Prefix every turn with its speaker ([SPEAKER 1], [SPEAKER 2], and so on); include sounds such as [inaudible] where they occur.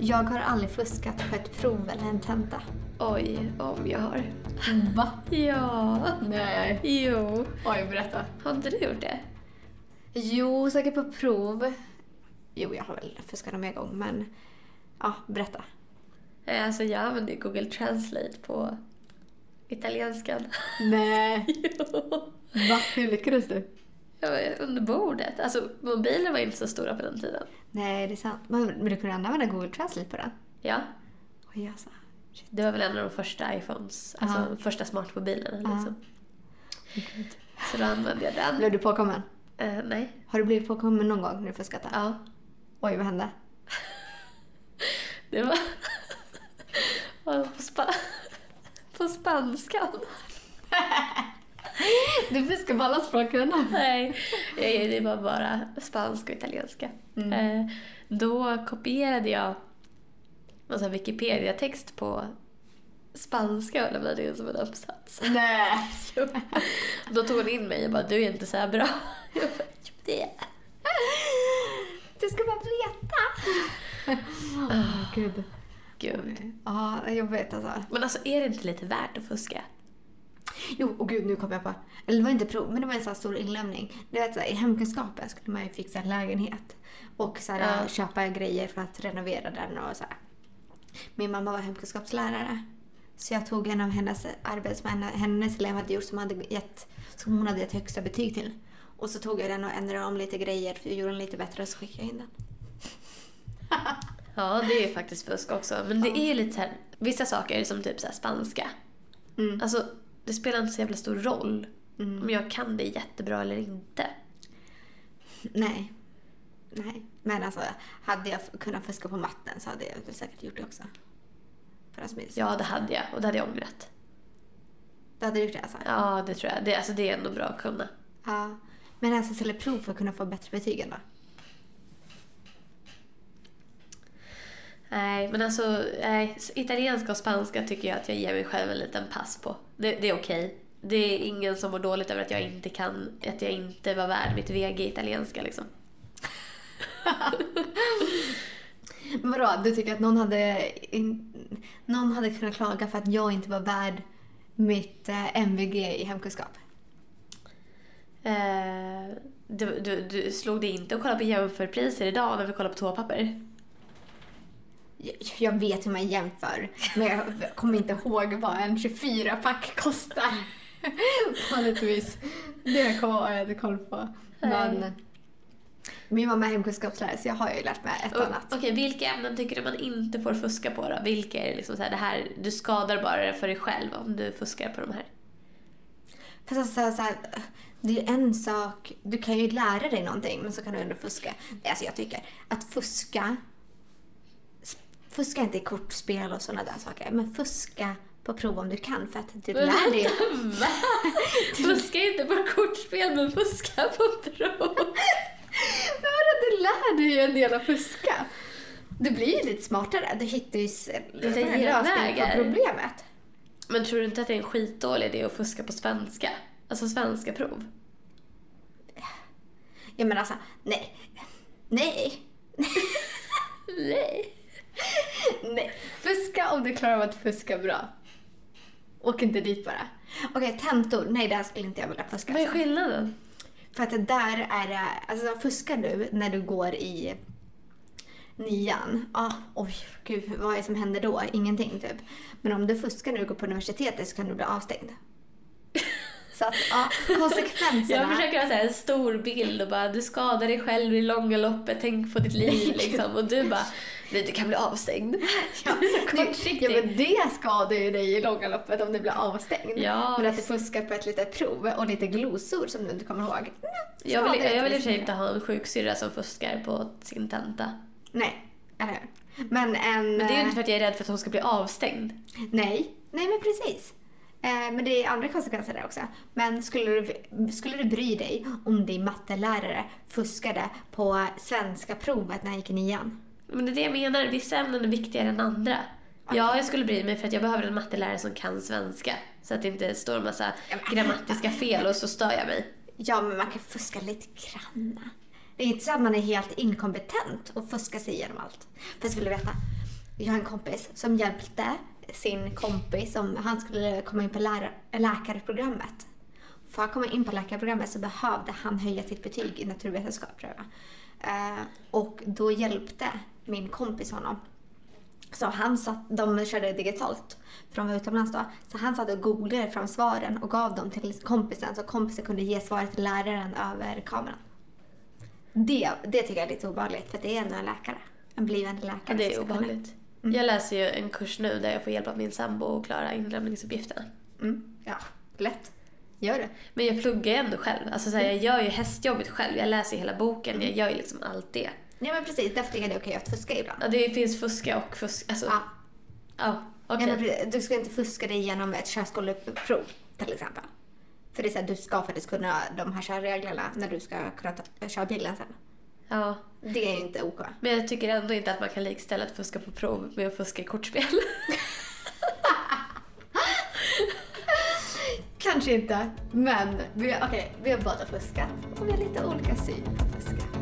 [SPEAKER 1] Jag har aldrig fuskat på ett prov eller en tenta.
[SPEAKER 2] Oj, om jag har.
[SPEAKER 3] Va?
[SPEAKER 2] Ja.
[SPEAKER 3] Nej.
[SPEAKER 2] Jo.
[SPEAKER 3] Oj, berätta.
[SPEAKER 2] Har inte du gjort det?
[SPEAKER 1] Jo, säkert på prov. Jo, jag har väl fuskat någon mer gång, men... Ja, berätta.
[SPEAKER 2] Eh, Alltså jag använder ju Google Translate på italienskan.
[SPEAKER 3] Nej.
[SPEAKER 2] jo.
[SPEAKER 3] Va? Hur lyckades du?
[SPEAKER 2] Jag var under bordet. Alltså mobiler var ju inte så stora på den tiden.
[SPEAKER 1] Nej, det är sant. Men, men du kunde ändå använda Google Translate på den?
[SPEAKER 2] Ja.
[SPEAKER 1] Oj, alltså.
[SPEAKER 2] Det var väl en av de första iPhones, alltså
[SPEAKER 1] Ja.
[SPEAKER 2] första smartmobilerna
[SPEAKER 1] Ja.
[SPEAKER 2] liksom. Så då använde jag den.
[SPEAKER 1] Blev du påkommen?
[SPEAKER 2] Eh, nej.
[SPEAKER 1] Har du blivit påkommen någon gång när du fuskat? där?
[SPEAKER 2] Ja.
[SPEAKER 1] Oj, vad hände?
[SPEAKER 2] Det var... [laughs] var på, spa... på spanskan.
[SPEAKER 3] Du fuskar på alla språken.
[SPEAKER 2] [laughs] Nej, eh, det var bara spanska och italienska. Eh, Då kopierade jag en sån här Wikipedia-text på spanska och lämnade in som en [laughs] uppsats.
[SPEAKER 1] [laughs]
[SPEAKER 3] Nej.
[SPEAKER 2] Då tog hon in mig och bara “du är inte så här bra”. [laughs] Jag bara, "Jo, det är jag."
[SPEAKER 1] Du ska bara veta!
[SPEAKER 3] Åh, Gud.
[SPEAKER 2] Gud.
[SPEAKER 1] Ja, jag vet alltså.
[SPEAKER 2] Men alltså är det inte lite värt att fuska?
[SPEAKER 1] Jo, och gud nu kom jag på. Eller det var inte prov, men det var en sån här stor inlämning. Du vet, så här, I hemkunskapen skulle man ju fixa en lägenhet. Och så här,
[SPEAKER 2] Ja.
[SPEAKER 1] köpa grejer för att renovera den och så här. Min mamma var hemkunskapslärare. Så jag tog en av hennes arbetsmän, hennes elev hade gjort som, hade gett, som hon hade gett högsta betyg till. Och så tog jag den och ändrade om lite grejer, för jag gjorde den lite bättre och så skickade jag in den.
[SPEAKER 2] Ja, det är ju faktiskt fusk också. Men det är ju lite så här, vissa saker som typ så här spanska.
[SPEAKER 1] Mm.
[SPEAKER 2] Alltså, det spelar inte så jävla stor roll
[SPEAKER 1] Mm.
[SPEAKER 2] om jag kan det jättebra eller inte.
[SPEAKER 1] Nej. Nej. Men alltså, hade jag f- kunnat fuska på matten så hade jag väl säkert gjort det också. För att smita sig.
[SPEAKER 2] Ja, det hade jag och det hade jag ångrat.
[SPEAKER 1] Du hade gjort det alltså?
[SPEAKER 2] Ja, det tror jag. Det, alltså, det är ändå bra att kunna.
[SPEAKER 1] Ja. Men alltså ställer prov för att kunna få bättre betyg
[SPEAKER 2] [laughs]
[SPEAKER 1] ändå?
[SPEAKER 2] Nej, men alltså nej, s- italienska och spanska tycker jag att jag ger mig själv en liten pass på. Det, det är okej. Det är ingen som mår dåligt över att jag inte kan, att jag inte var värd mitt VG i italienska liksom.
[SPEAKER 1] Men vadå, du tycker att någon hade, in, någon hade kunnat klaga för att jag inte var värd mitt eh, MVG i hemkunskap?
[SPEAKER 2] Eh, du, du, du slog dig inte och kollade på jämförpriser idag när vi kollade på toapapper?
[SPEAKER 1] Jag, jag vet hur man jämför, men jag kommer inte ihåg vad en 24-pack
[SPEAKER 3] [laughs]
[SPEAKER 1] kostar.
[SPEAKER 3] Vanligtvis. Det kommer jag ha jag inte koll på. Men...
[SPEAKER 2] Nej.
[SPEAKER 1] Min mamma är hemkunskapslärare så jag har ju lärt mig ett och
[SPEAKER 2] Och-
[SPEAKER 1] annat.
[SPEAKER 2] Okej, vilka ämnen tycker du man inte får fuska på då? Vilka är det liksom så här, det här, du skadar bara det för dig själv om du fuskar på de här?
[SPEAKER 1] Fast alltså, så här, det är en sak, du kan ju lära dig någonting men så kan du ändå fuska. Nej, Alltså jag tycker att fuska, fuska inte i kortspel och sådana där saker, men fuska på prov om du kan för att du lär dig.
[SPEAKER 2] Fuska inte på kortspel, men fuska på prov.
[SPEAKER 1] Men vadå, du lär dig ju en del att fuska. Du blir ju lite smartare, du hittar ju s-
[SPEAKER 2] Lite
[SPEAKER 1] en lösning på
[SPEAKER 2] genvägar.
[SPEAKER 1] problemet.
[SPEAKER 2] Men tror du inte att det är en skitdålig idé att fuska på svenska? Alltså svenska prov?
[SPEAKER 1] Jag menar alltså, nej, nej,
[SPEAKER 2] Nej.
[SPEAKER 1] nej.
[SPEAKER 3] Fuska om du klarar av att fuska bra. Åk inte dit bara.
[SPEAKER 1] Okej, tentor, nej det här skulle inte jag vilja fuska.
[SPEAKER 2] Vad är
[SPEAKER 1] alltså.
[SPEAKER 2] skillnaden?
[SPEAKER 1] För att det där är det, alltså fuskar du när du går i nian, ah, oj gud vad är det som händer då? Ingenting typ. Men om du fuskar när du går på universitetet så kan du bli avstängd. Så att ja,
[SPEAKER 2] Jag
[SPEAKER 1] konsekvenserna.
[SPEAKER 2] försöker ha så alltså, här en stor bild och bara du skadar dig själv i långa loppet, tänk på ditt [laughs] liv liksom. Och du bara, nej du kan bli avstängd.
[SPEAKER 1] Ja,
[SPEAKER 2] [laughs] kortsiktig.
[SPEAKER 1] ja, men det skadar ju dig i långa loppet om du blir avstängd.
[SPEAKER 2] Ja,
[SPEAKER 1] men att du fuskar på ett litet prov och lite glosor som du inte kommer ihåg. nej,
[SPEAKER 2] Jag
[SPEAKER 1] skadar
[SPEAKER 2] vill,
[SPEAKER 1] inte
[SPEAKER 2] jag vill i
[SPEAKER 1] dig så
[SPEAKER 2] och för sig
[SPEAKER 1] mycket.
[SPEAKER 2] inte ha en sjuksyrra som fuskar på sin tenta.
[SPEAKER 1] Nej, eller hur? Men eh, en...
[SPEAKER 2] Men det är ju inte för att jag är rädd för att hon ska bli avstängd.
[SPEAKER 1] Nej, nej men precis. Eh, men det är andra konsekvenser där också. Men skulle du, skulle du bry dig om din mattelärare fuskade på svenska provet när han gick i nian?
[SPEAKER 2] Men det är det jag menar, vissa ämnen är viktigare än andra. Ja, jag skulle bry mig för att jag behöver en mattelärare som kan svenska. Så att det inte står en massa grammatiska fel och så stör jag mig.
[SPEAKER 1] Ja, men man kan fuska lite grann. Det är inte så att man är helt inkompetent och fuskar sig igenom allt. Fast vill du veta? jag har en kompis som hjälpte sin kompis om han skulle komma in på lära- läkarprogrammet. För att komma in på läkarprogrammet så behövde han höja sitt betyg i naturvetenskap tror jag. Eh, och då hjälpte min kompis honom. Så han satt, de körde digitalt för de var utomlands då. Så han satt och googlade fram svaren och gav dem till kompisen så kompisen kunde ge svaret till läraren över kameran. Det, det tycker jag är lite obehagligt för det är ändå en läkare. En blivande läkare.
[SPEAKER 2] Ja, det
[SPEAKER 1] som ska
[SPEAKER 2] är
[SPEAKER 1] Mm. kunna-
[SPEAKER 2] obehagligt. Jag läser ju en kurs nu där jag får hjälp av min sambo att klara inlämningsuppgifterna.
[SPEAKER 1] Mm, ja, lätt. Gör det.
[SPEAKER 2] Men jag pluggar ju ändå själv. Alltså, så här, jag gör ju hästjobbet själv. Jag läser ju hela boken. Jag gör ju liksom allt det.
[SPEAKER 1] Ja men precis, därför tycker jag det är okej att fuska ibland.
[SPEAKER 2] Ja, det finns fuska och fusk. Alltså,
[SPEAKER 1] Ja.
[SPEAKER 2] ja. okej.
[SPEAKER 1] Ja, men precis. du ska inte fuska dig igenom ett körskoleprov till exempel. För det är så här, du ska faktiskt kunna de här körreglerna när du ska kunna ta, köra bilen sen.
[SPEAKER 2] ja.
[SPEAKER 1] Det är ju inte OK.
[SPEAKER 2] Men jag tycker ändå inte att man kan likställa att fuska på prov med att fuska i kortspel. [laughs]
[SPEAKER 1] Kanske inte, men vi, okay, vi har båda fuskat och vi har lite olika syn på fuska.